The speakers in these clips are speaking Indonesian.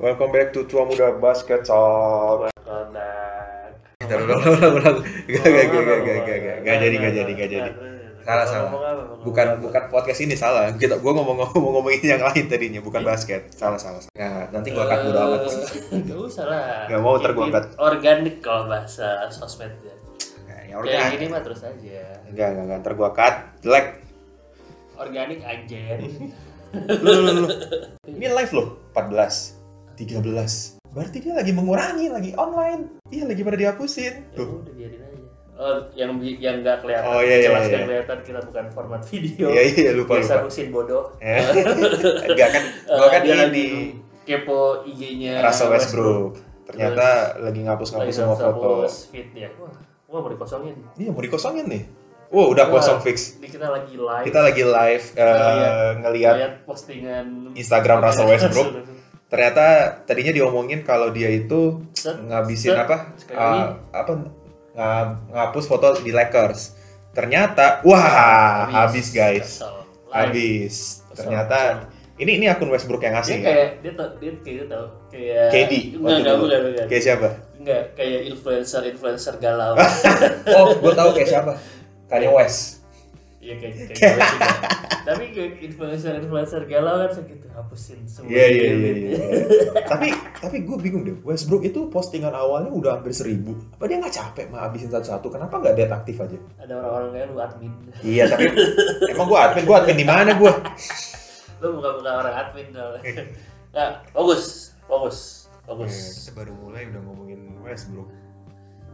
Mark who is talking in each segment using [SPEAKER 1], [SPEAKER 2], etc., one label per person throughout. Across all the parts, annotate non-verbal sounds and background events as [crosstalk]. [SPEAKER 1] Welcome back to Tua Muda Basket Talk.
[SPEAKER 2] Kotak.
[SPEAKER 1] Kita ulang ulang ulang. [laughs] Gak gak gak gak gak gak gak gak jadi gak jadi gak jadi. Salah salah. Bukan bukan podcast ini salah. Kita gua ngomong ngomong ngomongin yang lain tadinya bukan basket. Salah salah. salah. Nah, nanti gua cut bodo amat.
[SPEAKER 2] Gak usah lah.
[SPEAKER 1] Nggak mau, ntar gua
[SPEAKER 2] Eh, Keep
[SPEAKER 1] cut.
[SPEAKER 2] it Organik kalau bahasa sosmednya.
[SPEAKER 1] Nah, ya
[SPEAKER 2] Kayak
[SPEAKER 1] organik.
[SPEAKER 2] gini mah terus aja.
[SPEAKER 1] Enggak enggak enggak ntar gua cut. Jelek.
[SPEAKER 2] Organik Ya aja.
[SPEAKER 1] [laughs] Lu lu lu. lu. Ini live loh 14 13. Berarti dia lagi mengurangi, lagi online. Iya, lagi pada dihapusin.
[SPEAKER 2] Ya
[SPEAKER 1] Tuh.
[SPEAKER 2] udah biarin aja. Oh, yang bi- yang nggak kelihatan.
[SPEAKER 1] Oh, iya, iya,
[SPEAKER 2] Jelas
[SPEAKER 1] iya.
[SPEAKER 2] nggak kelihatan kita bukan format video.
[SPEAKER 1] Iya, iya, lupa
[SPEAKER 2] Biasa
[SPEAKER 1] lupa.
[SPEAKER 2] ngusin bodoh.
[SPEAKER 1] Ya. [laughs] Enggak kan, gua
[SPEAKER 2] Eh,
[SPEAKER 1] kan
[SPEAKER 2] dia
[SPEAKER 1] ini
[SPEAKER 2] lagi kepo IG-nya
[SPEAKER 1] Russell Westbrook. Ternyata lagi ngapus-ngapus semua foto.
[SPEAKER 2] Fit ya. Wah, wah mau dikosongin.
[SPEAKER 1] Iya, mau dikosongin nih. Wow, udah
[SPEAKER 2] Wah,
[SPEAKER 1] kosong fix.
[SPEAKER 2] Ini kita lagi live.
[SPEAKER 1] Kita lagi live eh,
[SPEAKER 2] Ngeliat.
[SPEAKER 1] ngeliat
[SPEAKER 2] lihat postingan
[SPEAKER 1] Instagram Russell Westbrook. Ternyata tadinya diomongin kalau dia itu
[SPEAKER 2] Set,
[SPEAKER 1] ngabisin
[SPEAKER 2] set,
[SPEAKER 1] apa?
[SPEAKER 2] sekali
[SPEAKER 1] ah,
[SPEAKER 2] lagi.
[SPEAKER 1] apa nga- ngapus foto di Lakers. Ternyata wah, habis, guys.
[SPEAKER 2] Kesel. Live.
[SPEAKER 1] Habis.
[SPEAKER 2] Kesel,
[SPEAKER 1] Ternyata ini ini akun Westbrook yang
[SPEAKER 2] Dia
[SPEAKER 1] asli. ya?
[SPEAKER 2] Iya, kayak dia tau dia kayak gitu tau kayak
[SPEAKER 1] KD.
[SPEAKER 2] Enggak
[SPEAKER 1] waktu
[SPEAKER 2] enggak
[SPEAKER 1] dulu.
[SPEAKER 2] bukan bukan.
[SPEAKER 1] Kayak siapa? [laughs]
[SPEAKER 2] Enggak kayak influencer influencer galau.
[SPEAKER 1] Oh, gue tahu kayak siapa. Kanye West.
[SPEAKER 2] Iya kayak kayak galau juga. Tapi kayak influencer influencer galau kan segitu hapusin semua.
[SPEAKER 1] Iya iya iya.
[SPEAKER 2] duit.
[SPEAKER 1] iya. [laughs] tapi tapi gue bingung deh. Westbrook itu postingan awalnya udah hampir seribu. Apa dia nggak capek mah habisin satu-satu? Kenapa nggak dia aktif aja?
[SPEAKER 2] Ada orang-orang kayak lu admin.
[SPEAKER 1] Iya tapi emang gue admin gue admin di mana gue?
[SPEAKER 2] Lu bukan-bukan orang admin soalnya. Nah, bagus. Bagus. Bagus.
[SPEAKER 1] baru mulai udah ngomongin Westbrook.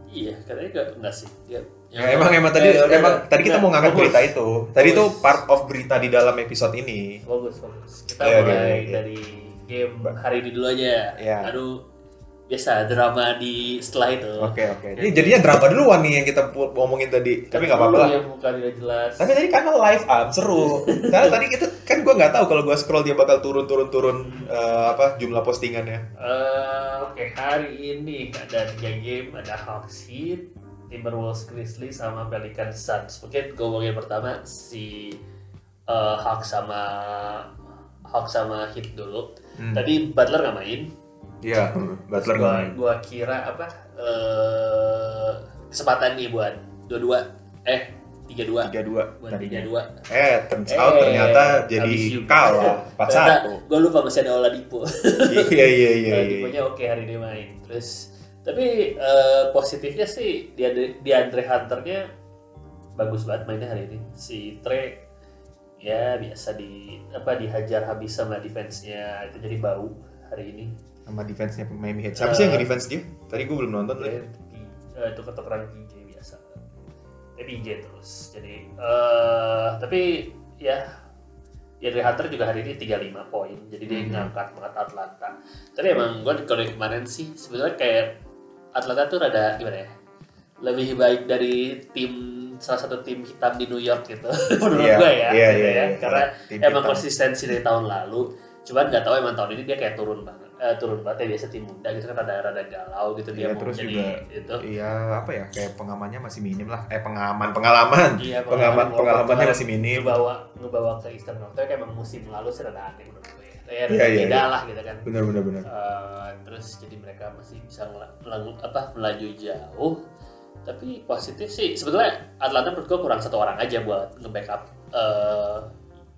[SPEAKER 2] Iya, katanya enggak enggak sih. Ya,
[SPEAKER 1] Ya, emang emang tadi
[SPEAKER 2] Eh, udah,
[SPEAKER 1] emang
[SPEAKER 2] udah.
[SPEAKER 1] tadi kita
[SPEAKER 2] Enggak,
[SPEAKER 1] mau ngangkat
[SPEAKER 2] bagus.
[SPEAKER 1] berita itu. Tadi itu
[SPEAKER 2] Bagus.
[SPEAKER 1] part of berita di dalam episode ini.
[SPEAKER 2] Bagus, bagus. Kita
[SPEAKER 1] Iya,
[SPEAKER 2] mulai
[SPEAKER 1] iya, iya.
[SPEAKER 2] dari game
[SPEAKER 1] Ba-
[SPEAKER 2] hari ini dulu aja.
[SPEAKER 1] Iya.
[SPEAKER 2] Lalu biasa drama di setelah itu.
[SPEAKER 1] Oke oke. Ini jadinya drama duluan nih yang kita pu- ngomongin tadi. Tapi nggak apa-apa lah.
[SPEAKER 2] Yang bukan tidak jelas.
[SPEAKER 1] Tapi tadi karena live am seru. Karena tadi itu kan gue nggak tahu kalau gue scroll dia bakal turun turun turun eh, apa jumlah postingannya.
[SPEAKER 2] Eh, Oke, hari ini ada tiga game, ada Hawks Heat, Timberwolves Grizzlies sama Pelican Suns. Mungkin gue mau yang pertama si eh, Hawks sama Hawks sama Heat dulu.
[SPEAKER 1] Hmm.
[SPEAKER 2] Tadi Butler nggak main.
[SPEAKER 1] Iya. Butler
[SPEAKER 2] Gua, gua kira apa eh kesempatan nih buat dua-dua eh tiga-dua
[SPEAKER 1] tiga dua
[SPEAKER 2] buat tiga-dua.
[SPEAKER 1] Eh turns out ternyata jadi kalah empat satu.
[SPEAKER 2] Gue lupa masih ada Oladipo.
[SPEAKER 1] Iya iya iya. iya.
[SPEAKER 2] Oladiponya oke hari ini main. Terus tapi eh, positifnya sih di Andre, di Andre Hunternya bagus banget mainnya hari ini. Si Tre ya biasa di apa dihajar habis sama defense-nya itu jadi bau hari ini.
[SPEAKER 1] Sama defense-nya Miami Heat. Siapa sih
[SPEAKER 2] Eh.
[SPEAKER 1] yang nge-defense dia? Tadi gue belum nonton. Iya,
[SPEAKER 2] Dia di- eh, itu ketukeran PJ biasa eh, PJ terus jadi eh tapi ya Yandre Hunter juga hari ini 35 poin jadi dia
[SPEAKER 1] Hmm.
[SPEAKER 2] ngangkat banget Atlanta tapi emang gue kalau yang kemarin sih sebenarnya kayak Atlanta tuh rada gimana ya lebih baik dari tim salah satu tim hitam di New York gitu [laughs] menurut
[SPEAKER 1] Iya,
[SPEAKER 2] gue
[SPEAKER 1] iya,
[SPEAKER 2] ya, gitu
[SPEAKER 1] iya,
[SPEAKER 2] ya.
[SPEAKER 1] iya.
[SPEAKER 2] karena
[SPEAKER 1] Tim
[SPEAKER 2] emang
[SPEAKER 1] hitam.
[SPEAKER 2] konsistensi dari tahun lalu cuman nggak tahu emang tahun ini dia kayak turun banget Eh, turun banget ya biasa tim muda gitu kan rada rada galau gitu dia
[SPEAKER 1] Iya,
[SPEAKER 2] mau
[SPEAKER 1] terus
[SPEAKER 2] jadi gitu.
[SPEAKER 1] juga
[SPEAKER 2] itu
[SPEAKER 1] Iya apa ya kayak pengamannya masih minim lah. Eh pengaman pengalaman.
[SPEAKER 2] Iya,
[SPEAKER 1] Pengaman
[SPEAKER 2] pengalaman-
[SPEAKER 1] pengalamannya masih minim.
[SPEAKER 2] ngebawa ngebawa ke Eastern North kayak emang musim lalu sih rada aneh menurut gue ya,
[SPEAKER 1] Iya, iya,
[SPEAKER 2] beda
[SPEAKER 1] iya.
[SPEAKER 2] lah gitu kan
[SPEAKER 1] Bener bener bener.
[SPEAKER 2] Eh, terus jadi mereka masih bisa ngela- melaju, apa, melaju jauh tapi positif sih sebetulnya Atlanta menurut gue kurang satu orang aja buat nge-backup eh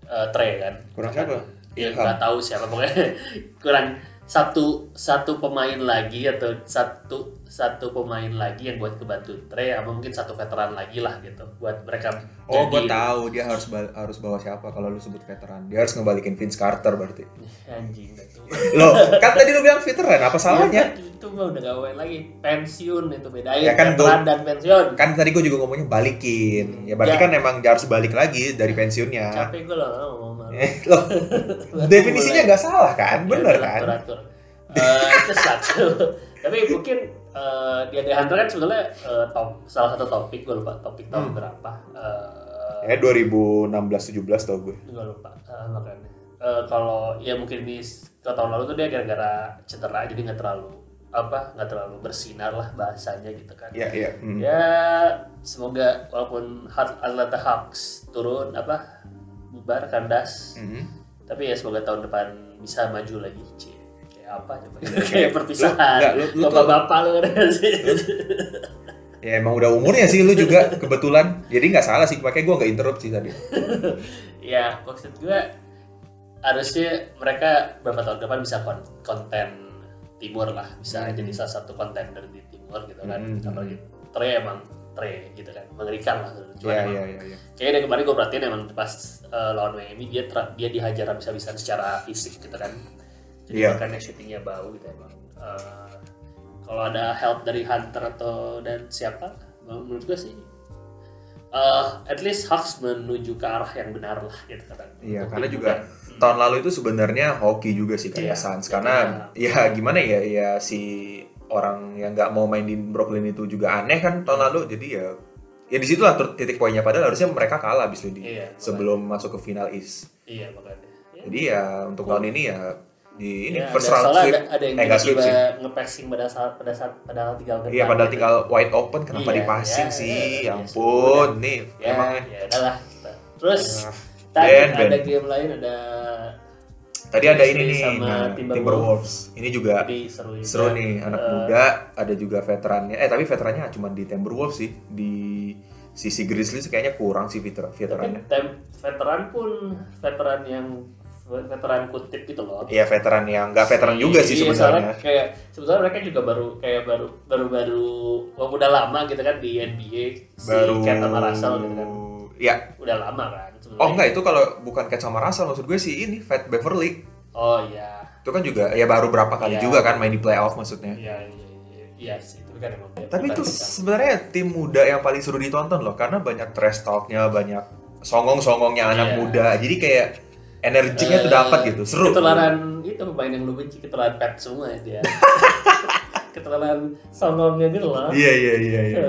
[SPEAKER 2] eh, Trey kan
[SPEAKER 1] Kurang siapa?
[SPEAKER 2] ya
[SPEAKER 1] Ilham.
[SPEAKER 2] nggak tahu siapa pokoknya [laughs] kurang satu satu pemain lagi atau satu satu pemain lagi yang buat kebantu Trey atau mungkin satu veteran lagi lah gitu buat mereka
[SPEAKER 1] Oh, gue
[SPEAKER 2] jadi
[SPEAKER 1] tahu dia harus ba- harus bawa siapa kalau lu sebut veteran. Dia harus ngebalikin Vince Carter berarti.
[SPEAKER 2] [laughs] anjing itu
[SPEAKER 1] Loh, kan tadi lu bilang veteran, apa salahnya?
[SPEAKER 2] [laughs] itu gue udah gak main lagi pensiun itu bedain
[SPEAKER 1] Ya kan,
[SPEAKER 2] veteran dan pensiun
[SPEAKER 1] Kan tadi gue juga ngomongnya balikin. Ya berarti
[SPEAKER 2] Ya.
[SPEAKER 1] kan emang dia harus balik lagi dari pensiunnya.
[SPEAKER 2] capek gue loh ngomong sama lu.
[SPEAKER 1] Eh, Loh, definisinya nggak salah kan?
[SPEAKER 2] Ya,
[SPEAKER 1] Bener
[SPEAKER 2] udah
[SPEAKER 1] kan?
[SPEAKER 2] atur-atur. Eh, itu satu [laughs] tapi mungkin eh, di Ade Hunter kan sebenarnya eh, top- salah satu topik gue lupa topik tahun
[SPEAKER 1] Hmm.
[SPEAKER 2] berapa Eh,
[SPEAKER 1] Ya 2016-17 tau gue.
[SPEAKER 2] gue lupa eh, makanya Eh, kalau ya mungkin di s- ke tahun lalu tuh dia gara-gara cedera jadi nggak terlalu apa nggak terlalu bersinar lah bahasanya gitu kan
[SPEAKER 1] Iya, iya. Hmm.
[SPEAKER 2] ya semoga walaupun Hat- Atlanta Hawks turun apa bubar kandas
[SPEAKER 1] Mhm.
[SPEAKER 2] Hmm. tapi ya semoga tahun depan bisa maju lagi cie Kayak apa coba kayak perpisahan bapak-bapak lu kan sih
[SPEAKER 1] ya emang udah umurnya sih lu juga kebetulan jadi nggak salah sih makanya gue nggak interrupt sih tadi
[SPEAKER 2] ya maksud gue harusnya mereka beberapa tahun depan bisa kon konten timur lah bisa
[SPEAKER 1] Hmm.
[SPEAKER 2] jadi salah satu contender di timur gitu kan
[SPEAKER 1] Hmm.
[SPEAKER 2] apalagi Tre emang Tre gitu kan mengerikan lah cuma
[SPEAKER 1] ya
[SPEAKER 2] emang-
[SPEAKER 1] ya ya, ya.
[SPEAKER 2] kayaknya dari kemarin gue perhatiin emang pas eh, lawan Miami dia ter- dia dihajar habis-habisan secara fisik gitu kan jadi
[SPEAKER 1] Iya.
[SPEAKER 2] makanya shootingnya bau gitu emang Eh, kalau ada help dari Hunter atau dan siapa menurut gue sih eh, at least Hawks menuju ke arah yang benar lah gitu kan
[SPEAKER 1] Iya,
[SPEAKER 2] Untuk
[SPEAKER 1] karena
[SPEAKER 2] tim
[SPEAKER 1] juga tahun lalu itu sebenarnya hoki juga sih kayak
[SPEAKER 2] Iya.
[SPEAKER 1] Suns karena ya gimana ya ya si orang yang nggak mau main di Brooklyn itu juga aneh kan tahun lalu jadi ya ya disitulah tur- titik poinnya padahal harusnya mereka kalah abis itu di
[SPEAKER 2] Iya,
[SPEAKER 1] sebelum masuk ke final East
[SPEAKER 2] iya makanya Ya,
[SPEAKER 1] jadi ya untuk tahun ini ya di ini
[SPEAKER 2] Ya,
[SPEAKER 1] first
[SPEAKER 2] ada-
[SPEAKER 1] round
[SPEAKER 2] soalnya
[SPEAKER 1] sweep
[SPEAKER 2] ada, ada yang
[SPEAKER 1] eh nggak sweep
[SPEAKER 2] tiba-tiba
[SPEAKER 1] sih
[SPEAKER 2] nge-passing pada saat pada saat padahal tinggal
[SPEAKER 1] iya
[SPEAKER 2] kentang
[SPEAKER 1] padahal
[SPEAKER 2] gitu.
[SPEAKER 1] tinggal wide open kenapa
[SPEAKER 2] Iya,
[SPEAKER 1] dipasing
[SPEAKER 2] iya,
[SPEAKER 1] sih Ya
[SPEAKER 2] iya,
[SPEAKER 1] ampun nih
[SPEAKER 2] ya,
[SPEAKER 1] emang
[SPEAKER 2] ya udahlah terus
[SPEAKER 1] Ah,
[SPEAKER 2] tadi
[SPEAKER 1] Ben,
[SPEAKER 2] ada
[SPEAKER 1] Ben.
[SPEAKER 2] game lain ada
[SPEAKER 1] tadi ada ini
[SPEAKER 2] Sri
[SPEAKER 1] nih
[SPEAKER 2] iya sama
[SPEAKER 1] nah,
[SPEAKER 2] Timberwolves.
[SPEAKER 1] Timberwolves ini juga
[SPEAKER 2] tapi seru juga.
[SPEAKER 1] Seru nih anak
[SPEAKER 2] Eh,
[SPEAKER 1] muda, ada juga veterannya. Eh tapi veterannya cuma di Timberwolves sih. Di sisi Grizzlies kayaknya kurang sih veter-
[SPEAKER 2] tapi
[SPEAKER 1] veterannya.
[SPEAKER 2] tem- veteran pun veteran yang veteran kutip gitu loh
[SPEAKER 1] Iya veteran yang nggak veteran
[SPEAKER 2] Iya,
[SPEAKER 1] juga sih
[SPEAKER 2] iya, soalnya
[SPEAKER 1] sebenarnya.
[SPEAKER 2] kayak sebetulnya mereka juga baru kayak baru baru baru walaupun udah lama gitu kan di NBA
[SPEAKER 1] Baru
[SPEAKER 2] si Cat sama Russell gitu kan
[SPEAKER 1] Ya,
[SPEAKER 2] udah lama kan sebenarnya.
[SPEAKER 1] oh enggak itu kalau bukan Cat sama Russell maksud gue sih ini Fat Beverly.
[SPEAKER 2] oh iya
[SPEAKER 1] Itu kan juga ya baru berapa kali
[SPEAKER 2] Iya.
[SPEAKER 1] juga kan main di playoff maksudnya.
[SPEAKER 2] iya iya iya iya sih itu kan emang
[SPEAKER 1] Tapi
[SPEAKER 2] bukan-
[SPEAKER 1] itu
[SPEAKER 2] bukan.
[SPEAKER 1] sebenarnya tim muda yang paling seru ditonton loh karena banyak trash talknya, banyak songong-songongnya anak
[SPEAKER 2] Iya.
[SPEAKER 1] muda. Jadi kayak energinya tuh
[SPEAKER 2] Eh,
[SPEAKER 1] dapat gitu, seru.
[SPEAKER 2] Ketularan itu pemain yang lu benci, ketularan pet semua ya
[SPEAKER 1] [laughs]
[SPEAKER 2] dia. ketularan songongnya gitu loh.
[SPEAKER 1] Iya iya iya iya.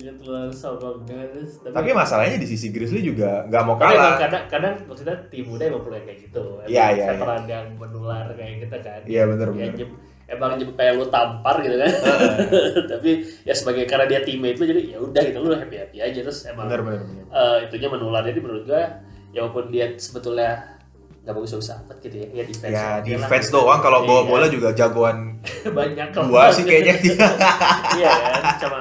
[SPEAKER 2] Ketularan songongnya terus,
[SPEAKER 1] Tapi masalahnya di sisi Grizzly juga nggak mau
[SPEAKER 2] tapi emang
[SPEAKER 1] kalah.
[SPEAKER 2] kadang, kadang maksudnya tim muda emang perlu yang kayak gitu. Emang
[SPEAKER 1] Iya, iya,
[SPEAKER 2] Veteran yang menular kayak gitu kan.
[SPEAKER 1] Iya bener
[SPEAKER 2] Ya,
[SPEAKER 1] bener.
[SPEAKER 2] jem- emang jem- kayak lu tampar gitu kan. [laughs] tapi ya sebagai karena dia teammate lu jadi ya udah gitu lu happy happy aja terus emang
[SPEAKER 1] Bener bener bener.
[SPEAKER 2] eh, itunya menular jadi menurut gua ya walaupun dia sebetulnya nggak bagus bagus amat gitu ya ya defense
[SPEAKER 1] Ya
[SPEAKER 2] aja lah.
[SPEAKER 1] defense doang kalau bawa
[SPEAKER 2] Iya.
[SPEAKER 1] bola juga jagoan
[SPEAKER 2] [laughs] banyak
[SPEAKER 1] dua sih kayaknya dia.
[SPEAKER 2] iya kan sama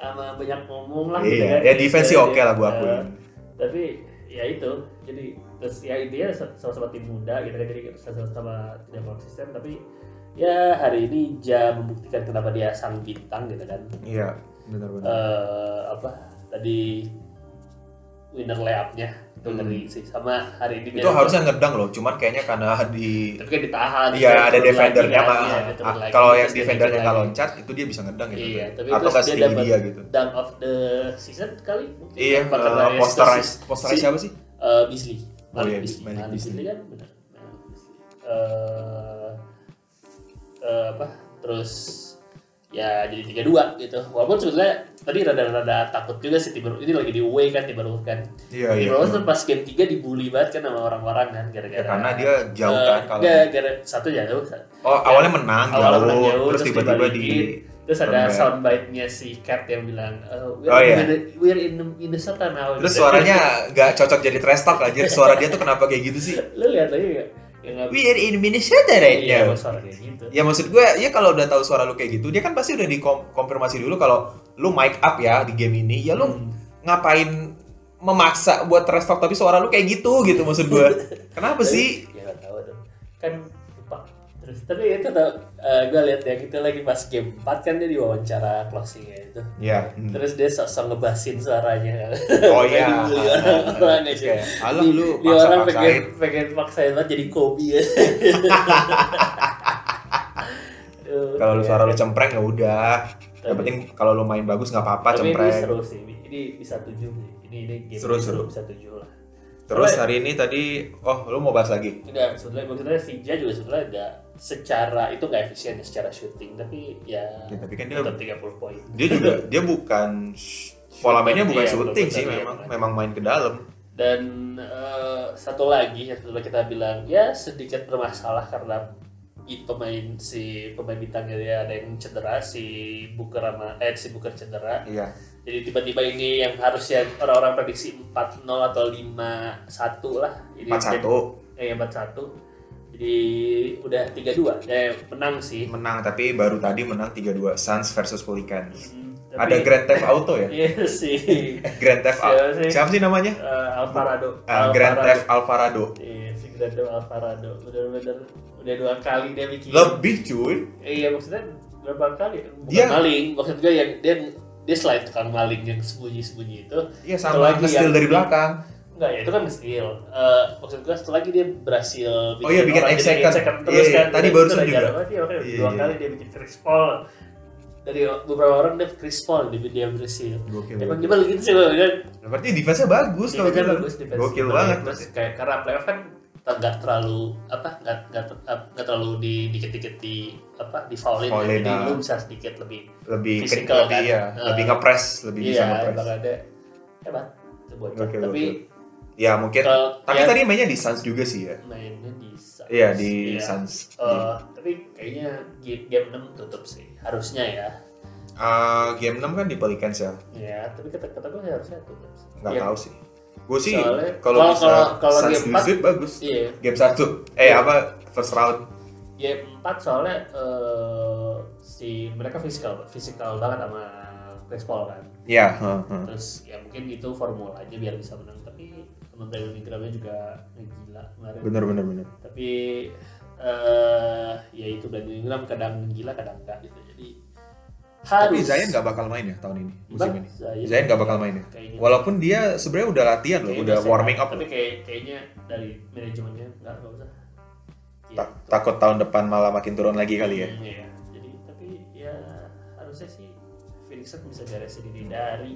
[SPEAKER 2] sama banyak ngomong lah gitu
[SPEAKER 1] Iya.
[SPEAKER 2] kan
[SPEAKER 1] Ya defense sih
[SPEAKER 2] Jadi,
[SPEAKER 1] oke lah gua
[SPEAKER 2] eh,
[SPEAKER 1] akui.
[SPEAKER 2] tapi ya itu jadi terus ya intinya sama-sama tim muda gitu kan jadi sama-sama tidak konsisten tapi ya hari ini Ja membuktikan kenapa dia sang bintang gitu kan
[SPEAKER 1] Iya bener bener.
[SPEAKER 2] eh apa tadi winner layupnya itu
[SPEAKER 1] Hmm.
[SPEAKER 2] ngeri sih sama hari ini
[SPEAKER 1] Itu harusnya ngedang loh, cuman kayaknya karena di
[SPEAKER 2] tapi kan ditahan terus
[SPEAKER 1] Iya ada
[SPEAKER 2] turun lagi
[SPEAKER 1] defendernya
[SPEAKER 2] kan,
[SPEAKER 1] mah.
[SPEAKER 2] iya, dia turun
[SPEAKER 1] Ah,
[SPEAKER 2] lagi,
[SPEAKER 1] Kalau
[SPEAKER 2] terus
[SPEAKER 1] yang
[SPEAKER 2] dia
[SPEAKER 1] defendernya
[SPEAKER 2] turun
[SPEAKER 1] nggak
[SPEAKER 2] lagi.
[SPEAKER 1] loncat itu dia bisa ngedang gitu.
[SPEAKER 2] iya tapi
[SPEAKER 1] Atau
[SPEAKER 2] terus
[SPEAKER 1] nggak
[SPEAKER 2] dia
[SPEAKER 1] steady
[SPEAKER 2] dapat
[SPEAKER 1] dia gitu.
[SPEAKER 2] dunk of the season kali mungkin
[SPEAKER 1] Iya,
[SPEAKER 2] Apa karena
[SPEAKER 1] eh,
[SPEAKER 2] Estes
[SPEAKER 1] posterize,
[SPEAKER 2] sih?
[SPEAKER 1] posterize
[SPEAKER 2] si-
[SPEAKER 1] siapa sih?
[SPEAKER 2] Eh, Beasley
[SPEAKER 1] Oh iya,
[SPEAKER 2] Malik Beasley
[SPEAKER 1] Malik
[SPEAKER 2] Malik
[SPEAKER 1] Beasley.
[SPEAKER 2] Beasley kan benar Malik Beasley. Eh, eh, apa terus ya jadi tiga dua gitu walaupun sebetulnya tadi rada-rada takut juga sih Timber ini lagi di away kan Timberwolves kan
[SPEAKER 1] Iya iya.
[SPEAKER 2] Timberwolves tuh pas game 3 dibully banget kan sama orang-orang kan gara-gara
[SPEAKER 1] Ya, Karena dia jauh
[SPEAKER 2] Eh,
[SPEAKER 1] kan kalau.
[SPEAKER 2] enggak, gara- satu ya, jauh
[SPEAKER 1] Oh awalnya menang
[SPEAKER 2] awalnya menang
[SPEAKER 1] jauh,
[SPEAKER 2] jauh,
[SPEAKER 1] terus
[SPEAKER 2] terus
[SPEAKER 1] tiba-tiba
[SPEAKER 2] dibalikin.
[SPEAKER 1] di
[SPEAKER 2] terus ada
[SPEAKER 1] Comeback.
[SPEAKER 2] soundbite-nya si Cat yang bilang "Uh, we're,
[SPEAKER 1] Oh, iya.
[SPEAKER 2] in the- we're in Minnesota now
[SPEAKER 1] Terus
[SPEAKER 2] Gitu.
[SPEAKER 1] suaranya nggak cocok jadi trash talk anjir. Suara dia tuh kenapa kayak gitu sih?
[SPEAKER 2] lu lihat lagi nggak yang nggak
[SPEAKER 1] We are in Minnesota right
[SPEAKER 2] iya
[SPEAKER 1] now.
[SPEAKER 2] sama suara kayak gitu
[SPEAKER 1] Ya maksud gue, ya kalau udah tahu suara lu kayak gitu, dia kan pasti udah dikonfirmasi dulu kalau lu mic up ya di game ini. Ya lu
[SPEAKER 2] Hmm.
[SPEAKER 1] ngapain memaksa buat trash talk tapi suara lu kayak gitu gitu maksud gue. Kenapa
[SPEAKER 2] Tapi-
[SPEAKER 1] sih?
[SPEAKER 2] ya nggak tahu tuh kan lupa terus tapi itu tau eh, gue lihat ya gitu lagi pas game 4 kan dia diwawancara closingnya itu
[SPEAKER 1] Ya. hmm.
[SPEAKER 2] terus dia sok-sok ngebasin suaranya
[SPEAKER 1] Oh
[SPEAKER 2] Kayak
[SPEAKER 1] iya.
[SPEAKER 2] [laughs] gitu, dibully orang-orang aja.
[SPEAKER 1] Kayak, Alah lu
[SPEAKER 2] dia orang gitu. pengen
[SPEAKER 1] paksa-paksain.
[SPEAKER 2] pengen paksain banget jadi Kobe
[SPEAKER 1] [laughs]
[SPEAKER 2] ya
[SPEAKER 1] Kalau
[SPEAKER 2] iya.
[SPEAKER 1] lu suara lu cempreng ya udah. Yang
[SPEAKER 2] Tapi-
[SPEAKER 1] penting kalau lu main bagus nggak apa-apa
[SPEAKER 2] tapi ini
[SPEAKER 1] cempreng.
[SPEAKER 2] seru sih ini bisa tujuh nih. ini ini game
[SPEAKER 1] Seru,
[SPEAKER 2] ini
[SPEAKER 1] seru.
[SPEAKER 2] bisa tujuh lah
[SPEAKER 1] Terus hari ini tadi, oh lu mau bahas lagi?
[SPEAKER 2] tidak sebetulnya maksudnya si Ja juga sebetulnya nggak secara itu nggak efisien ya, secara shooting tapi ya
[SPEAKER 1] Ya, tapi kan dia
[SPEAKER 2] tetap 30 poin
[SPEAKER 1] dia
[SPEAKER 2] [laughs]
[SPEAKER 1] juga dia bukan pola mainnya bukan
[SPEAKER 2] Iya,
[SPEAKER 1] shooting
[SPEAKER 2] betul,
[SPEAKER 1] sih
[SPEAKER 2] betul, iya,
[SPEAKER 1] memang
[SPEAKER 2] betul.
[SPEAKER 1] memang main ke dalam
[SPEAKER 2] dan eh, satu lagi yang sebetulnya kita bilang ya sedikit bermasalah karena i- pemain si pemain bintangnya dia ada yang cedera si Booker sama eh si Booker cedera
[SPEAKER 1] iya
[SPEAKER 2] jadi tiba-tiba ini yang harusnya orang-orang prediksi 4-0 atau 5-1 lah ini
[SPEAKER 1] empat satu
[SPEAKER 2] jadi, eh, 4-1 Jadi udah 3-2. Eh menang sih.
[SPEAKER 1] Menang tapi baru tadi menang 3-2 Suns versus Pelicans.
[SPEAKER 2] Hmm,
[SPEAKER 1] Ada
[SPEAKER 2] tapi-
[SPEAKER 1] Grand Theft Auto ya?
[SPEAKER 2] Iya sih.
[SPEAKER 1] Eh, Grand Theft
[SPEAKER 2] Siapa
[SPEAKER 1] Auto.
[SPEAKER 2] sih?
[SPEAKER 1] Siapa sih namanya?
[SPEAKER 2] Eh, Alvarado.
[SPEAKER 1] Ah, Grand
[SPEAKER 2] Alvarado.
[SPEAKER 1] Theft Alvarado.
[SPEAKER 2] Iya, si Grand Theft Alvarado. Bener-bener udah dua kali dia bikin.
[SPEAKER 1] Lebih cuy.
[SPEAKER 2] Eh, Iya maksudnya berapa kali? Bukan
[SPEAKER 1] Dia-
[SPEAKER 2] maling, maksud gue yang dia dia selain tukang maling yang sembunyi-sembunyi itu,
[SPEAKER 1] Iya
[SPEAKER 2] Satu
[SPEAKER 1] sama
[SPEAKER 2] lagi
[SPEAKER 1] nge-steal
[SPEAKER 2] yang-
[SPEAKER 1] dari belakang.
[SPEAKER 2] enggak ya itu kan nge-steal. Eh, maksud gue satu lagi dia berhasil
[SPEAKER 1] Oh iya, bikin
[SPEAKER 2] orang
[SPEAKER 1] egg
[SPEAKER 2] jadi
[SPEAKER 1] second.
[SPEAKER 2] egg second
[SPEAKER 1] Iya,
[SPEAKER 2] terus
[SPEAKER 1] iya,
[SPEAKER 2] kan.
[SPEAKER 1] tadi
[SPEAKER 2] Itu
[SPEAKER 1] barusan
[SPEAKER 2] gara-gara
[SPEAKER 1] juga.
[SPEAKER 2] dia, makanya
[SPEAKER 1] Iya,
[SPEAKER 2] ya, dua
[SPEAKER 1] iya.
[SPEAKER 2] kali dia bikin Chris Paul. Dari beberapa orang dia Chris Paul dia dia berhasil.
[SPEAKER 1] Gokil.
[SPEAKER 2] Emang gimana gitu sih gue kan.
[SPEAKER 1] Berarti defense-nya bagus kalau
[SPEAKER 2] Defense-nya
[SPEAKER 1] gitu.
[SPEAKER 2] bagus, defense.
[SPEAKER 1] Gokil
[SPEAKER 2] Tapi
[SPEAKER 1] banget.
[SPEAKER 2] Terus kayak karena playoff kan nggak terlalu apa nggak nggak ter- nggak terlalu di dikit-dikit di apa di foulin, ya.
[SPEAKER 1] Foulin,
[SPEAKER 2] jadi
[SPEAKER 1] ah.
[SPEAKER 2] lu bisa sedikit lebih
[SPEAKER 1] Lebih ke-
[SPEAKER 2] Physical,
[SPEAKER 1] lebih
[SPEAKER 2] kan?
[SPEAKER 1] ya,
[SPEAKER 2] Eh,
[SPEAKER 1] lebih ngepres, lebih bisa
[SPEAKER 2] iya
[SPEAKER 1] ngepres.
[SPEAKER 2] bakal ada hebat itu bocah
[SPEAKER 1] Gokil,
[SPEAKER 2] tapi
[SPEAKER 1] Ya mungkin.
[SPEAKER 2] kalau-
[SPEAKER 1] Tapi
[SPEAKER 2] ya,
[SPEAKER 1] tadi mainnya di Suns juga sih ya.
[SPEAKER 2] mainnya di Suns
[SPEAKER 1] Iya di
[SPEAKER 2] Iya.
[SPEAKER 1] Suns.
[SPEAKER 2] Eh, tapi kayaknya game, game 6 tutup sih harusnya ya
[SPEAKER 1] Ah, game 6 kan di Pelicans ya.
[SPEAKER 2] ya tapi kata kata gue harusnya tutup sih
[SPEAKER 1] Nggak
[SPEAKER 2] Ya,
[SPEAKER 1] tahu sih. Gue sih
[SPEAKER 2] Soalnya-
[SPEAKER 1] kalau
[SPEAKER 2] kalau-
[SPEAKER 1] bisa
[SPEAKER 2] kalau- kalau
[SPEAKER 1] Suns
[SPEAKER 2] game
[SPEAKER 1] di
[SPEAKER 2] empat-
[SPEAKER 1] sweep bagus.
[SPEAKER 2] iya
[SPEAKER 1] Game 1. Eh
[SPEAKER 2] Iya.
[SPEAKER 1] apa first round.
[SPEAKER 2] game 4 soalnya eh, si mereka fisikal fisikal banget sama Chris Paul kan
[SPEAKER 1] Ya, heeh.
[SPEAKER 2] terus ya mungkin itu formula aja biar bisa menang tapi teman Taylor Ingramnya juga gila kemarin
[SPEAKER 1] Bener bener bener.
[SPEAKER 2] tapi eh ya itu Brandon Ingram kadang gila kadang enggak gitu jadi harus
[SPEAKER 1] Tapi Zion nggak bakal main ya tahun ini musim
[SPEAKER 2] Bang,
[SPEAKER 1] ini.
[SPEAKER 2] Zion,
[SPEAKER 1] Zion nggak bakal main ya.
[SPEAKER 2] kayaknya
[SPEAKER 1] Walaupun dia sebenarnya udah latihan loh,
[SPEAKER 2] kayaknya
[SPEAKER 1] udah
[SPEAKER 2] sehat.
[SPEAKER 1] warming up.
[SPEAKER 2] gitu tapi
[SPEAKER 1] loh.
[SPEAKER 2] kayak kayaknya dari manajemennya nggak nggak usah ya,
[SPEAKER 1] Ta- takut tahun depan malah makin turun lagi kali ya.
[SPEAKER 2] Hmm, iya. jadi tapi ya harusnya sih Phoenix Suns bisa beres sendiri dari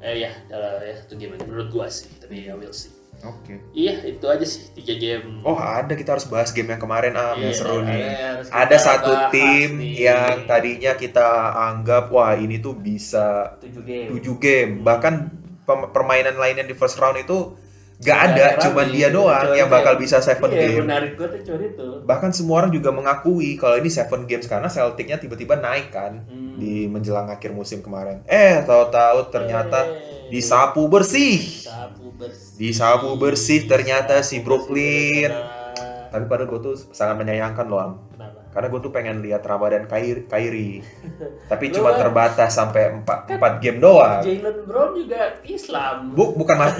[SPEAKER 2] eh ya dalam ya satu game aja menurut gua sih tapi ya will see
[SPEAKER 1] Oke.
[SPEAKER 2] iya itu aja sih tiga game
[SPEAKER 1] Oh ada kita harus bahas game yang kemarin ah yang
[SPEAKER 2] Iya,
[SPEAKER 1] seru nih.
[SPEAKER 2] makanya harus
[SPEAKER 1] Ada
[SPEAKER 2] kita
[SPEAKER 1] satu
[SPEAKER 2] bahas
[SPEAKER 1] tim
[SPEAKER 2] nih.
[SPEAKER 1] yang tadinya kita anggap wah ini tuh bisa
[SPEAKER 2] tujuh game
[SPEAKER 1] 7 game bahkan pem- permainan lainnya di first round itu gak
[SPEAKER 2] Nggak
[SPEAKER 1] ada
[SPEAKER 2] ada
[SPEAKER 1] cuman
[SPEAKER 2] lagi.
[SPEAKER 1] dia doang
[SPEAKER 2] Cuman
[SPEAKER 1] yang
[SPEAKER 2] dia-
[SPEAKER 1] bakal bisa 7
[SPEAKER 2] Iya, yang
[SPEAKER 1] game
[SPEAKER 2] menarik gue tuh cuma itu.
[SPEAKER 1] bahkan semua orang juga mengakui kalau ini 7 games karena Celtic-nya tiba-tiba naik kan
[SPEAKER 2] Hmm.
[SPEAKER 1] di menjelang akhir musim kemarin eh tahu-tahu ternyata
[SPEAKER 2] Yeay.
[SPEAKER 1] disapu bersih
[SPEAKER 2] Disapu bersih.
[SPEAKER 1] Disapu bersih, ternyata si
[SPEAKER 2] Disapu
[SPEAKER 1] Brooklyn.
[SPEAKER 2] bersih, ternyata-
[SPEAKER 1] tapi padahal gue tuh sangat menyayangkan loh Am.
[SPEAKER 2] Kenapa?
[SPEAKER 1] karena gue tuh pengen lihat Ramadhan Kairi, Kairi.
[SPEAKER 2] [laughs]
[SPEAKER 1] tapi
[SPEAKER 2] Lu
[SPEAKER 1] cuma
[SPEAKER 2] kan-
[SPEAKER 1] terbatas sampai 4, 4 game doang
[SPEAKER 2] Jalen Brown juga Islam.
[SPEAKER 1] Bu, bukan mas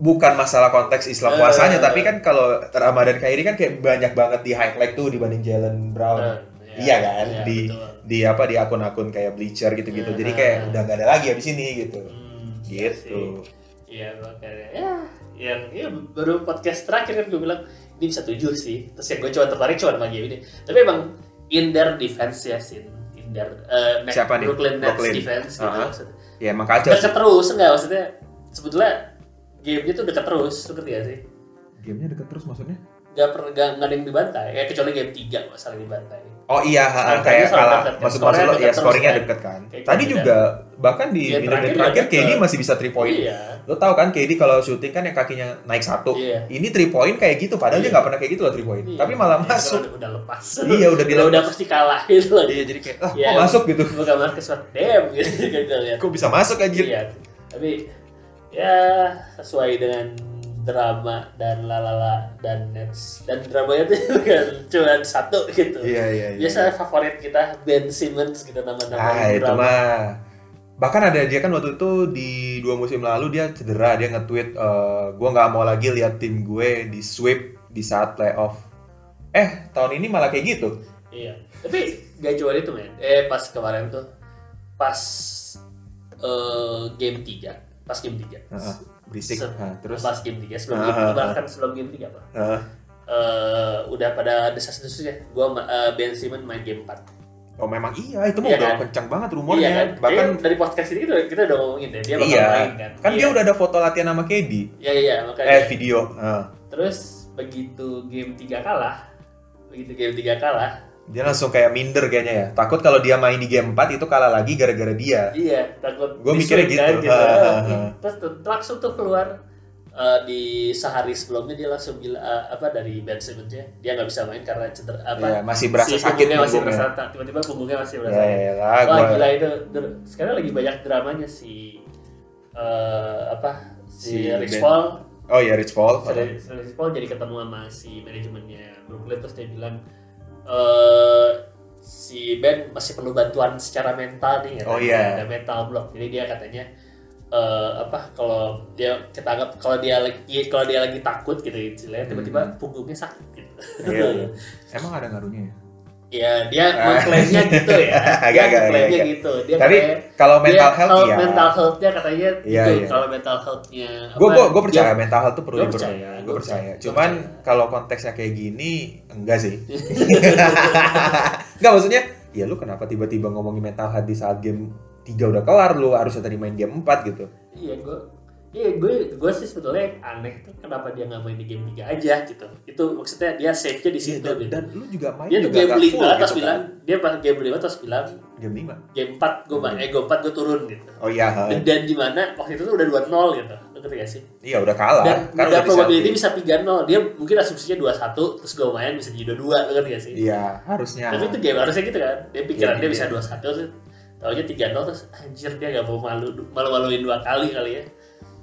[SPEAKER 1] bukan masalah konteks Islam
[SPEAKER 2] Eh.
[SPEAKER 1] puasanya, tapi kan kalau Ramadan Kairi kan kayak banyak banget di highlight tuh dibanding Jalen Brown.
[SPEAKER 2] Nah, ya,
[SPEAKER 1] iya kan?
[SPEAKER 2] ya,
[SPEAKER 1] di
[SPEAKER 2] betul.
[SPEAKER 1] di apa di akun-akun kayak Bleacher gitu-gitu. Jadi kayak
[SPEAKER 2] Hmm.
[SPEAKER 1] udah nggak ada lagi abis ini gitu.
[SPEAKER 2] Hmm, iya sih.
[SPEAKER 1] Gitu.
[SPEAKER 2] Iya makanya ya yang ya, baru podcast terakhir kan gue bilang ini bisa tujuh sih. Terus yang gue coba tertarik cuma sama game ini. Tapi emang in their defense ya sin in their eh, Nets-
[SPEAKER 1] Siapa nih?
[SPEAKER 2] Brooklyn Nets
[SPEAKER 1] Brooklyn.
[SPEAKER 2] defense gitu
[SPEAKER 1] Aha.
[SPEAKER 2] maksudnya.
[SPEAKER 1] Ya emang kacau.
[SPEAKER 2] Deket terus enggak maksudnya sebetulnya gamenya tuh deket terus lu ngerti gak sih?
[SPEAKER 1] Gamenya deket terus maksudnya?
[SPEAKER 2] Gak pernah gak, gak ada yang dibantai. Ya kecuali game 3 kalau salah dibantai.
[SPEAKER 1] Oh iya, ha- ha,
[SPEAKER 2] Makanya
[SPEAKER 1] kayak
[SPEAKER 2] soal
[SPEAKER 1] kalah.
[SPEAKER 2] deket kan.
[SPEAKER 1] Maksud maksud
[SPEAKER 2] Skornya
[SPEAKER 1] lo, ya
[SPEAKER 2] deket terus
[SPEAKER 1] scoringnya
[SPEAKER 2] kan.
[SPEAKER 1] deket kan.
[SPEAKER 2] Kayak
[SPEAKER 1] Tadi
[SPEAKER 2] gitu
[SPEAKER 1] juga bahkan di
[SPEAKER 2] Ya,
[SPEAKER 1] menit-menit
[SPEAKER 2] terakhir
[SPEAKER 1] terakhir KD
[SPEAKER 2] deket.
[SPEAKER 1] masih bisa 3 point.
[SPEAKER 2] Iya.
[SPEAKER 1] Lo tau kan KD kalau syuting kan yang kakinya naik satu.
[SPEAKER 2] Iya.
[SPEAKER 1] Ini 3 point kayak gitu padahal dia
[SPEAKER 2] Iya.
[SPEAKER 1] nggak pernah kayak gitu loh 3 point.
[SPEAKER 2] Iya.
[SPEAKER 1] Tapi malah
[SPEAKER 2] Iya, [laughs]
[SPEAKER 1] masuk.
[SPEAKER 2] Udah, udah lepas.
[SPEAKER 1] Iya, udah
[SPEAKER 2] udah,
[SPEAKER 1] dilepas.
[SPEAKER 2] udah pasti kalah gitu loh.
[SPEAKER 1] [laughs] Iya jadi kayak ah
[SPEAKER 2] Iya.
[SPEAKER 1] kok masuk gitu.
[SPEAKER 2] Bukan Marcus Smart. Damn gitu [laughs] kan gue lihat.
[SPEAKER 1] Kok bisa masuk anjir?
[SPEAKER 2] Iya. Tapi ya sesuai dengan drama dan lalala dan nets dan dramanya tuh [laughs] bukan cuma satu gitu.
[SPEAKER 1] iya
[SPEAKER 2] Biasa favorit kita Ben Simmons kita nama-nama
[SPEAKER 1] Ah itu mah. Bahkan ada dia kan waktu itu di dua musim lalu dia cedera dia nge-tweet eh, gua nggak mau lagi lihat tim gue di sweep di saat playoff. Eh tahun ini malah kayak gitu.
[SPEAKER 2] Iya. Tapi gak cuma itu men. Eh pas kemarin tuh pas eh, game 3 pas game 3
[SPEAKER 1] Heeh, berisik.
[SPEAKER 2] Se-
[SPEAKER 1] Nah, terus
[SPEAKER 2] pas game 3 sebelum
[SPEAKER 1] Ah,
[SPEAKER 2] game,
[SPEAKER 1] ah, ah.
[SPEAKER 2] bahkan sebelum game 3 apa
[SPEAKER 1] Heeh.
[SPEAKER 2] Eh, udah pada desas-desusnya gua ma- eh, Ben Simmons main game 4
[SPEAKER 1] oh memang iya itu mah
[SPEAKER 2] Iya
[SPEAKER 1] udah
[SPEAKER 2] kan?
[SPEAKER 1] kencang banget
[SPEAKER 2] iya
[SPEAKER 1] rumornya.
[SPEAKER 2] kan
[SPEAKER 1] Bahkan
[SPEAKER 2] Kayaknya dari podcast ini kita, kita udah ngomongin deh dia bakal
[SPEAKER 1] iya.
[SPEAKER 2] main kan
[SPEAKER 1] Kan
[SPEAKER 2] Iya.
[SPEAKER 1] dia udah ada foto latihan sama KD.
[SPEAKER 2] iya iya iya, makanya
[SPEAKER 1] Eh video. Heeh.
[SPEAKER 2] terus begitu game 3 kalah begitu game 3 kalah
[SPEAKER 1] Dia langsung kayak minder kayaknya ya. Takut kalau dia main di game 4 itu kalah lagi gara-gara dia.
[SPEAKER 2] Iya, takut
[SPEAKER 1] Gua mikirnya
[SPEAKER 2] disuit
[SPEAKER 1] gitu.
[SPEAKER 2] kan,
[SPEAKER 1] Ha, ha, ha.
[SPEAKER 2] Terus tuh- langsung tuh keluar eh, di sehari sebelumnya dia langsung bilang eh, apa dari Ben Simmons ya dia nggak bisa main karena cedera
[SPEAKER 1] Iya,
[SPEAKER 2] apa
[SPEAKER 1] masih berasa
[SPEAKER 2] si
[SPEAKER 1] sakit
[SPEAKER 2] punggungnya masih berasa
[SPEAKER 1] punggungnya.
[SPEAKER 2] ta- tiba-tiba punggungnya masih berasa sakit.
[SPEAKER 1] Ya lah,
[SPEAKER 2] Wah
[SPEAKER 1] gua
[SPEAKER 2] gila itu Der- sekarang lagi banyak dramanya si eh, apa si,
[SPEAKER 1] Si
[SPEAKER 2] Rich
[SPEAKER 1] Ben.
[SPEAKER 2] Paul
[SPEAKER 1] Oh iya Rich Paul.
[SPEAKER 2] [laughs] Sir- Sir Rich Paul jadi ketemu sama si manajemennya Brooklyn terus dia bilang eh si Ben masih perlu bantuan secara mental nih katanya.
[SPEAKER 1] Oh, iya.
[SPEAKER 2] ada mental block jadi dia katanya eh, apa kalau dia kita anggap kalau dia lagi iya, kalau dia lagi takut gitu
[SPEAKER 1] Hmm.
[SPEAKER 2] istilahnya tiba-tiba punggungnya sakit gitu
[SPEAKER 1] Iya, iya. Emang ada ngaruhnya ya?
[SPEAKER 2] ya dia
[SPEAKER 1] Ah.
[SPEAKER 2] mengklaimnya gitu
[SPEAKER 1] [laughs]
[SPEAKER 2] ya dia
[SPEAKER 1] Agak-agak,
[SPEAKER 2] mengklaimnya
[SPEAKER 1] agak-agak.
[SPEAKER 2] gitu dia
[SPEAKER 1] Tapi
[SPEAKER 2] kayak-
[SPEAKER 1] kalau mental
[SPEAKER 2] dia-
[SPEAKER 1] health
[SPEAKER 2] kalau
[SPEAKER 1] ya.
[SPEAKER 2] mental health-nya katanya
[SPEAKER 1] Iya,
[SPEAKER 2] gitu
[SPEAKER 1] iya.
[SPEAKER 2] kalau mental health-nya
[SPEAKER 1] Gue
[SPEAKER 2] apa,
[SPEAKER 1] gue gue percaya
[SPEAKER 2] dia-
[SPEAKER 1] mental health tuh perlu
[SPEAKER 2] iya. gua
[SPEAKER 1] diperlukan.
[SPEAKER 2] percaya,
[SPEAKER 1] Gue
[SPEAKER 2] gua
[SPEAKER 1] percaya.
[SPEAKER 2] percaya.
[SPEAKER 1] Cuman kalau konteksnya kayak gini enggak
[SPEAKER 2] [laughs]
[SPEAKER 1] sih. [laughs] enggak maksudnya ya lu kenapa tiba-tiba ngomongin mental health di saat game 3 udah kelar lu harusnya tadi main game 4 gitu.
[SPEAKER 2] iya gue iya gue gue sih sebetulnya yang aneh tuh kenapa dia nggak main di game 3 aja gitu itu maksudnya dia save-nya di situ
[SPEAKER 1] Iya, dan,
[SPEAKER 2] gitu
[SPEAKER 1] dan lu juga main
[SPEAKER 2] dia tuh
[SPEAKER 1] juga
[SPEAKER 2] game
[SPEAKER 1] nggak
[SPEAKER 2] lima
[SPEAKER 1] full
[SPEAKER 2] terus
[SPEAKER 1] gitu
[SPEAKER 2] bilang
[SPEAKER 1] kan. Hmm.
[SPEAKER 2] dia pas game lima terus bilang
[SPEAKER 1] Game 5.
[SPEAKER 2] game 4 gue main eh game 4 gue turun gitu
[SPEAKER 1] Oh iya, ha.
[SPEAKER 2] dan, dan gimana waktu itu tuh udah 2-0 gitu lo ngerti gak sih
[SPEAKER 1] iya udah kalah.
[SPEAKER 2] dan
[SPEAKER 1] Kan udah
[SPEAKER 2] udah probability
[SPEAKER 1] disalin.
[SPEAKER 2] bisa 3-0 dia mungkin asumsinya 2-1 terus gue main bisa jadi 2-2 lo ngerti gak sih
[SPEAKER 1] Iya harusnya.
[SPEAKER 2] tapi itu game harusnya gitu kan dia pikiran
[SPEAKER 1] Iya,
[SPEAKER 2] dia
[SPEAKER 1] iya.
[SPEAKER 2] bisa 2-1 terus taunya 3-0 terus anjir dia gak mau malu malu-maluin dua kali kali ya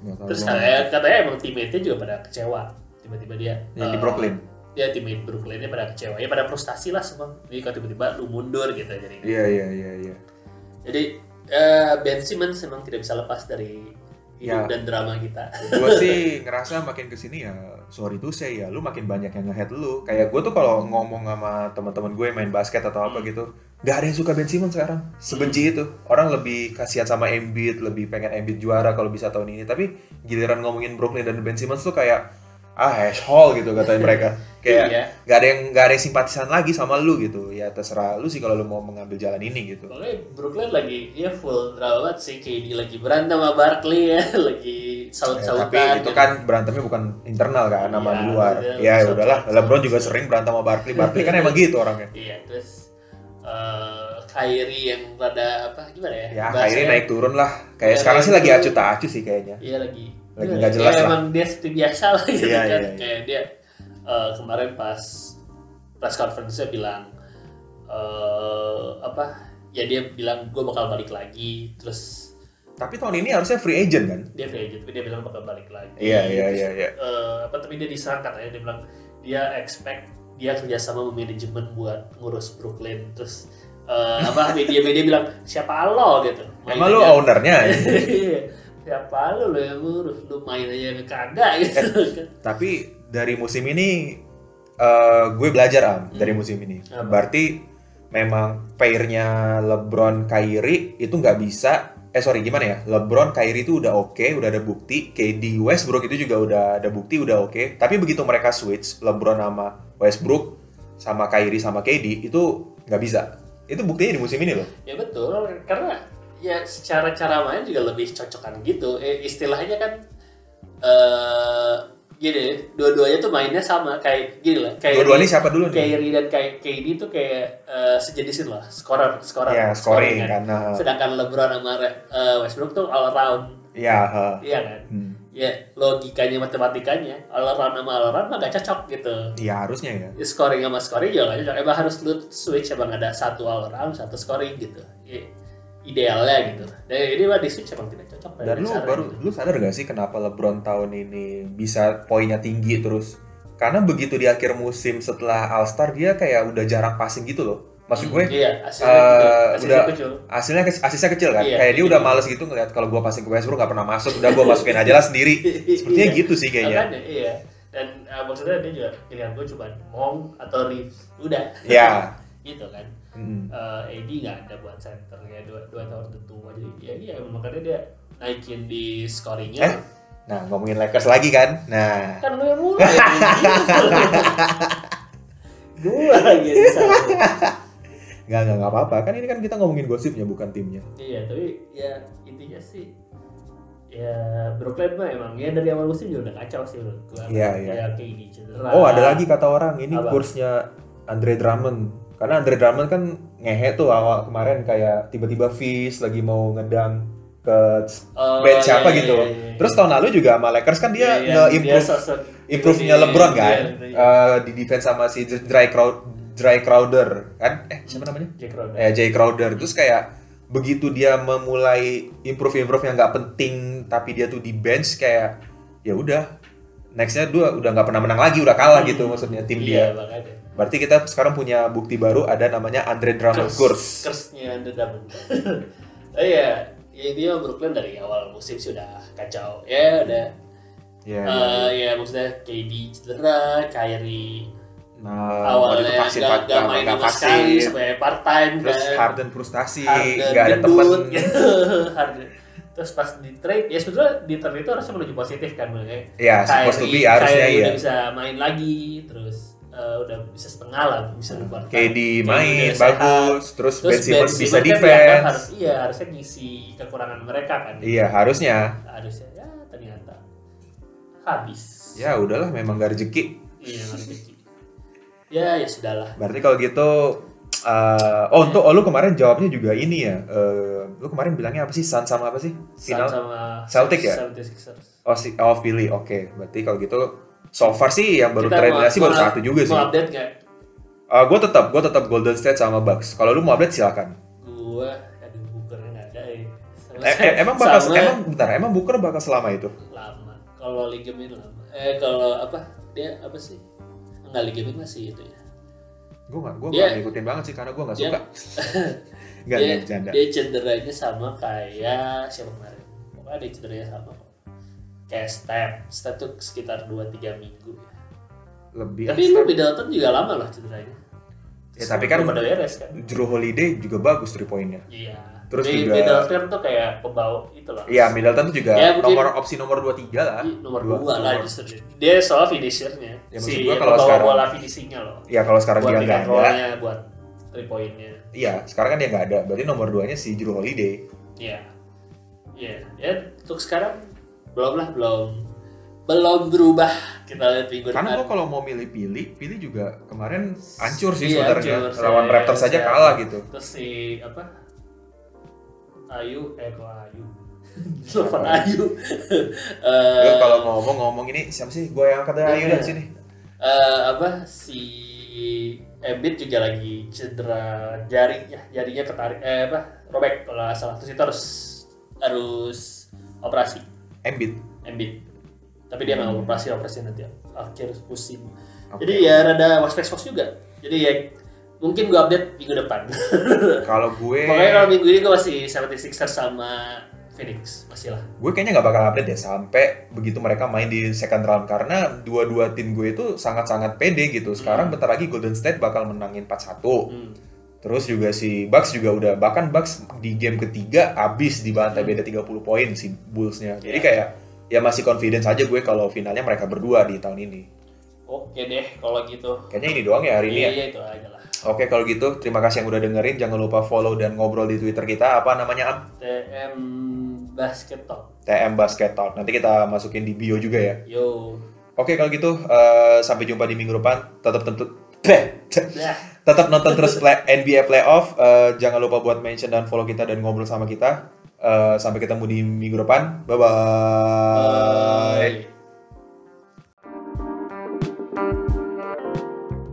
[SPEAKER 1] Ya, kalau
[SPEAKER 2] Terus
[SPEAKER 1] gua-
[SPEAKER 2] katanya, katanya emang teammate-nya juga pada kecewa. Tiba-tiba dia
[SPEAKER 1] yang Iya, di
[SPEAKER 2] eh,
[SPEAKER 1] Brooklyn.
[SPEAKER 2] Dia teammate Brooklyn-nya pada kecewa. Ya pada frustasi lah semua. Jadi kalau tiba-tiba lu mundur gitu jadi.
[SPEAKER 1] Iya iya iya iya.
[SPEAKER 2] Jadi eh, Ben Simmons memang tidak bisa lepas dari
[SPEAKER 1] Ya.
[SPEAKER 2] hidup dan drama kita.
[SPEAKER 1] gue sih ngerasa makin kesini ya sorry tuh saya ya lu makin banyak yang ngehead lu kayak gue tuh kalau ngomong sama teman-teman gue main basket atau apa gitu gak ada yang suka Ben Simmons sekarang sebenci itu orang lebih kasihan sama Embiid lebih pengen Embiid juara kalau bisa tahun ini tapi giliran ngomongin Brooklyn dan Ben Simmons tuh kayak ah asshole gitu katain mereka kayak
[SPEAKER 2] [laughs] Iya.
[SPEAKER 1] gak ada yang gak ada yang simpatisan lagi sama lu gitu ya terserah lu sih kalau lu mau mengambil jalan ini gitu
[SPEAKER 2] Makanya Brooklyn lagi ya full drama banget sih. KD lagi berantem sama Barkley ya. [laughs] Lagi
[SPEAKER 1] Ya,
[SPEAKER 2] saut-sautan.
[SPEAKER 1] tapi itu
[SPEAKER 2] gitu.
[SPEAKER 1] kan berantemnya bukan internal kan, nama
[SPEAKER 2] Iya,
[SPEAKER 1] di luar.
[SPEAKER 2] iya,
[SPEAKER 1] Ya
[SPEAKER 2] bisa-
[SPEAKER 1] udahlah,
[SPEAKER 2] bisa-
[SPEAKER 1] LeBron
[SPEAKER 2] bisa.
[SPEAKER 1] juga sering berantem sama Barkley. Barkley kan emang gitu orangnya.
[SPEAKER 2] Iya, terus eh Kyrie yang rada apa gimana ya?
[SPEAKER 1] Ya
[SPEAKER 2] Bahasanya-
[SPEAKER 1] akhirnya naik turun lah. Kayak
[SPEAKER 2] Iya,
[SPEAKER 1] sekarang sih
[SPEAKER 2] naik
[SPEAKER 1] lagi
[SPEAKER 2] turun.
[SPEAKER 1] acuh tak acuh sih kayaknya.
[SPEAKER 2] Iya lagi.
[SPEAKER 1] Lagi
[SPEAKER 2] Iya,
[SPEAKER 1] nggak
[SPEAKER 2] ya,
[SPEAKER 1] jelas lah.
[SPEAKER 2] Emang dia seperti biasa lah gitu
[SPEAKER 1] Iya,
[SPEAKER 2] kan.
[SPEAKER 1] iya, iya.
[SPEAKER 2] Kayak dia eh, kemarin pas press conference-nya bilang eh apa? Ya dia bilang gue bakal balik lagi. Terus
[SPEAKER 1] Tapi tahun ini harusnya free agent kan?
[SPEAKER 2] dia free agent, tapi dia bilang bakal balik lagi.
[SPEAKER 1] Iya iya
[SPEAKER 2] Terus,
[SPEAKER 1] iya. iya.
[SPEAKER 2] eh, apa tapi dia diserang katanya dia bilang dia expect dia kerjasama sama manajemen buat ngurus Brooklyn. Terus eh, apa media-media bilang siapa lo gitu.
[SPEAKER 1] Emang lu
[SPEAKER 2] Mainnya-
[SPEAKER 1] ownernya. ya?
[SPEAKER 2] Iya. siapa lu lo yang ngurus lu main aja kagak gitu
[SPEAKER 1] Tapi dari musim ini eh, gue belajar am dari musim ini.
[SPEAKER 2] Hmm. Apa?
[SPEAKER 1] Berarti memang pairnya LeBron Kyrie itu nggak bisa eh sorry gimana ya LeBron Kyrie itu udah oke udah ada bukti KD Westbrook itu juga udah ada bukti udah oke tapi begitu mereka switch LeBron sama Westbrook sama Kyrie sama KD itu nggak bisa itu buktinya di musim ini loh
[SPEAKER 2] ya betul karena ya secara cara main juga lebih cocokan gitu eh, istilahnya kan eh gini dua-duanya tuh mainnya sama kayak gini lah kayak
[SPEAKER 1] dua-duanya siapa dulu nih
[SPEAKER 2] Kyrie dan kayak KD tuh kayak eh, sejenisin lah skorer skorer
[SPEAKER 1] ya scoring
[SPEAKER 2] scoring kan.
[SPEAKER 1] karena
[SPEAKER 2] sedangkan LeBron sama eh, Westbrook tuh all around
[SPEAKER 1] ya ha.
[SPEAKER 2] iya kan
[SPEAKER 1] Hmm.
[SPEAKER 2] ya logikanya matematikanya all around sama all around mah gak cocok gitu
[SPEAKER 1] ya harusnya ya
[SPEAKER 2] scoring sama scoring juga nggak cocok. Emang harus lu switch emang ada satu all around, satu scoring gitu. I- Idealnya gitu. Dan ini mah di switch emang tidak cocok.
[SPEAKER 1] Dan lu
[SPEAKER 2] dasarnya
[SPEAKER 1] baru
[SPEAKER 2] gitu.
[SPEAKER 1] lu sadar gak sih kenapa LeBron tahun ini bisa poinnya tinggi terus? Karena begitu di akhir musim setelah All Star dia kayak udah jarang passing gitu loh. Maksud gue
[SPEAKER 2] Iya, hasilnya gitu.
[SPEAKER 1] eh,
[SPEAKER 2] Hasilnya
[SPEAKER 1] udah-
[SPEAKER 2] kecil.
[SPEAKER 1] hasilnya ke- asisnya kecil kan?
[SPEAKER 2] Iya,
[SPEAKER 1] kayak dia
[SPEAKER 2] iya.
[SPEAKER 1] udah males gitu ngeliat kalau gua passing ke Westbrook gak pernah masuk, udah gua masukin aja lah sendiri. [laughs] Sepertinya
[SPEAKER 2] Iya.
[SPEAKER 1] gitu sih kayaknya.
[SPEAKER 2] Makanya, iya. Dan eh, maksudnya dia juga pilihan gue cuma Mong atau Reeves. Udah.
[SPEAKER 1] Ya.
[SPEAKER 2] [laughs] gitu kan.
[SPEAKER 1] Mm.
[SPEAKER 2] Eh Edi nggak ada buat center ya dua dua tahun tertua jadi ya iya makanya dia naikin di scoringnya
[SPEAKER 1] Eh? Nah, ngomongin Lakers lagi kan? Nah,
[SPEAKER 2] kan lu
[SPEAKER 1] [laughs]
[SPEAKER 2] yang mulai gue lagi yang salah.
[SPEAKER 1] nggak nggak nggak apa-apa kan ini kan kita ngomongin gosipnya bukan timnya.
[SPEAKER 2] iya tapi ya intinya sih ya Brooklyn mah emang ya dari awal musim juga udah kacau sih menurut gue
[SPEAKER 1] Iya, iya.
[SPEAKER 2] ya KD cedera
[SPEAKER 1] Oh ada lagi kata orang ini
[SPEAKER 2] Apa?
[SPEAKER 1] kursnya Andre Drummond karena Andre Drummond kan ngehe tuh awal kemarin kayak tiba-tiba Fizz lagi mau ngedang ke
[SPEAKER 2] Oh,
[SPEAKER 1] bench
[SPEAKER 2] iya,
[SPEAKER 1] siapa
[SPEAKER 2] iya,
[SPEAKER 1] gitu.
[SPEAKER 2] iya, iya.
[SPEAKER 1] Terus tahun lalu juga sama Lakers kan dia
[SPEAKER 2] Iya, iya,
[SPEAKER 1] nge-improve
[SPEAKER 2] sosok-
[SPEAKER 1] improve-nya
[SPEAKER 2] iya,
[SPEAKER 1] LeBron
[SPEAKER 2] iya,
[SPEAKER 1] kan
[SPEAKER 2] iya, iya.
[SPEAKER 1] Eh, di defense sama si Dry Crow Dry Crowder kan eh siapa namanya?
[SPEAKER 2] Jack Crowder.
[SPEAKER 1] eh, Jay Crowder terus kayak begitu dia memulai improve improve yang nggak penting tapi dia tuh di bench kayak ya udah nextnya dia udah nggak pernah menang lagi udah kalah gitu maksudnya tim
[SPEAKER 2] iya,
[SPEAKER 1] dia
[SPEAKER 2] makanya.
[SPEAKER 1] berarti kita sekarang punya bukti baru ada namanya Andre Drummond Gurs
[SPEAKER 2] Curse-nya The Diamond. [laughs] oh iya, ya dia Brooklyn dari awal musim sih udah kacau. Ya udah.
[SPEAKER 1] ya
[SPEAKER 2] Eh, ya maksudnya KD cedera, Kyrie
[SPEAKER 1] nah waktu
[SPEAKER 2] awalnya nggak nggak
[SPEAKER 1] nggak-
[SPEAKER 2] main
[SPEAKER 1] nggak
[SPEAKER 2] sama sekali sampai part time
[SPEAKER 1] terus
[SPEAKER 2] kan.
[SPEAKER 1] Harden frustasi
[SPEAKER 2] Harden
[SPEAKER 1] nggak ada temen
[SPEAKER 2] gendut, gitu. [laughs] Harden. Terus pas di trade, ya sebetulnya di trade itu harusnya menuju positif kan menurutnya.
[SPEAKER 1] ya supposed to be harusnya
[SPEAKER 2] Kyrie
[SPEAKER 1] ya
[SPEAKER 2] udah bisa main lagi, terus eh, udah bisa setengah lah, bisa di quarter.
[SPEAKER 1] KD Hmm. main
[SPEAKER 2] udah sehat.
[SPEAKER 1] bagus terus, Ben Simmons bisa
[SPEAKER 2] Simmons kan dianggap
[SPEAKER 1] defense
[SPEAKER 2] harus- iya, harusnya ngisi kekurangan mereka kan.
[SPEAKER 1] iya harusnya
[SPEAKER 2] Harusnya ya ternyata habis.
[SPEAKER 1] ya udahlah memang gak rezeki
[SPEAKER 2] [laughs] Iya, rezeki. Ya, ya sudahlah.
[SPEAKER 1] Berarti kalau gitu eh, oh untuk oh, lu kemarin jawabnya juga ini ya. Eh, lu kemarin bilangnya apa sih? Sun sama apa sih?
[SPEAKER 2] Sun
[SPEAKER 1] Final.
[SPEAKER 2] sama
[SPEAKER 1] Celtic ya?
[SPEAKER 2] Celtic Sixers.
[SPEAKER 1] Oh, si, oh Philly. Oke. Berarti kalau gitu so far sih yang baru
[SPEAKER 2] Kita mau-
[SPEAKER 1] tereliminasi baru
[SPEAKER 2] mau-
[SPEAKER 1] satu juga sih.
[SPEAKER 2] Mau update nggak?
[SPEAKER 1] Eh, gue tetap gue tetap Golden State sama Bucks. Kalau lu mau update
[SPEAKER 2] [laughs]
[SPEAKER 1] silakan.
[SPEAKER 2] Gua aduh bukernya nggak ada ya. Sama-
[SPEAKER 1] Eh, eh, emang bakal
[SPEAKER 2] sama
[SPEAKER 1] emang bentar emang Booker bakal selama itu.
[SPEAKER 2] lama. Kalau ligamen lama. Eh kalau apa? Dia apa sih? Enggak ligamen masih itu ya.
[SPEAKER 1] Gue nggak gue
[SPEAKER 2] Dia-
[SPEAKER 1] nggak ngikutin banget sih karena gue nggak
[SPEAKER 2] dia- [laughs]
[SPEAKER 1] suka. Gak
[SPEAKER 2] dia,
[SPEAKER 1] yeah. bercanda.
[SPEAKER 2] dia cederanya sama kayak siapa kemarin pokoknya dia cederanya sama kok. kayak step step tuh sekitar 2-3 minggu ya.
[SPEAKER 1] Lebih.
[SPEAKER 2] tapi lu Middleton juga lama loh cederanya
[SPEAKER 1] Ya, tapi kan-
[SPEAKER 2] Belum pada beres kan
[SPEAKER 1] Drew Holiday juga bagus 3 poinnya.
[SPEAKER 2] iya
[SPEAKER 1] Terus
[SPEAKER 2] Mi-
[SPEAKER 1] juga-
[SPEAKER 2] Middleton tuh kayak pembawa itu loh
[SPEAKER 1] Iya, Middleton tuh juga
[SPEAKER 2] Ya, mungkin- Iya.
[SPEAKER 1] nomor opsi nomor 2 3 lah.
[SPEAKER 2] Ih, nomor
[SPEAKER 1] Dua-
[SPEAKER 2] 2 lah
[SPEAKER 1] nomor-
[SPEAKER 2] justru dia soal finishernya
[SPEAKER 1] Ya, maksud
[SPEAKER 2] si
[SPEAKER 1] gua kalau
[SPEAKER 2] pembawa
[SPEAKER 1] sekarang-
[SPEAKER 2] bola finishingnya loh
[SPEAKER 1] Ya kalau sekarang
[SPEAKER 2] buat
[SPEAKER 1] dia
[SPEAKER 2] pick
[SPEAKER 1] nggak
[SPEAKER 2] and
[SPEAKER 1] ada,
[SPEAKER 2] roll-nya buat 3 poinnya
[SPEAKER 1] iya sekarang kan dia nggak ada. Berarti nomor 2-nya si Drew Holiday.
[SPEAKER 2] Iya. Iya. Ya, untuk sekarang belum lah, belum belum berubah. Kita lihat minggu
[SPEAKER 1] Karena gua
[SPEAKER 2] depan.
[SPEAKER 1] kalau mau milih pilih, pilih juga kemarin hancur sih
[SPEAKER 2] Iya,
[SPEAKER 1] sebenarnya.
[SPEAKER 2] hancur, Iya.
[SPEAKER 1] Lawan
[SPEAKER 2] saya-
[SPEAKER 1] Raptors saja
[SPEAKER 2] saya-
[SPEAKER 1] kalah gitu.
[SPEAKER 2] Terus si apa? Ayu, eh kok Ayu? [laughs] Telepon Ayu. [laughs] Eh,
[SPEAKER 1] Gua kalau ngomong ngomong ini siapa sih gue yang kata ayo
[SPEAKER 2] Iya.
[SPEAKER 1] dari sini.
[SPEAKER 2] eh, apa si Embiid juga lagi cedera jarinya, jarinya ketarik eh apa? Robek kalau nggak salah. Terus itu harus harus operasi.
[SPEAKER 1] Embiid.
[SPEAKER 2] Embiid. Tapi dia nggak operasi operasi nanti akhir musim.
[SPEAKER 1] Hmm. Oke.
[SPEAKER 2] Jadi ya rada was was juga. Jadi ya mungkin gue update minggu depan.
[SPEAKER 1] Kalau gue,
[SPEAKER 2] Pokoknya kalau minggu ini gue masih 76ers sama Phoenix masih lah.
[SPEAKER 1] gue kayaknya nggak bakal update ya sampai begitu mereka main di second round karena dua-dua tim gue itu sangat-sangat pede gitu. Sekarang bentar lagi Golden State bakal menangin 4-1.
[SPEAKER 2] Hmm.
[SPEAKER 1] Terus juga si Bucks juga udah bahkan Bucks di game ketiga abis dibantai beda 30 poin si Bulls-nya. Jadi
[SPEAKER 2] Hmm. Iya.
[SPEAKER 1] kayak ya masih confidence aja gue kalau finalnya mereka berdua di tahun ini.
[SPEAKER 2] Oke deh kalau gitu.
[SPEAKER 1] Kayaknya ini doang ya hari ini
[SPEAKER 2] Iya
[SPEAKER 1] ya.
[SPEAKER 2] iya itu aja lah.
[SPEAKER 1] Oke kalau gitu terima kasih yang udah dengerin. Jangan lupa follow dan ngobrol di Twitter kita apa namanya Am?
[SPEAKER 2] TM basket talk.
[SPEAKER 1] TM Basket Talk. Nanti kita masukin di bio juga ya.
[SPEAKER 2] Yo.
[SPEAKER 1] Oke kalau gitu eh, sampai jumpa di minggu depan. Tetap tentu [laughs]
[SPEAKER 2] Dah.
[SPEAKER 1] tetap nonton terus play- NBA playoff. Eh, jangan lupa buat mention dan follow kita dan ngobrol sama kita. Eh, sampai ketemu di minggu depan. Bye bye.
[SPEAKER 2] Bye.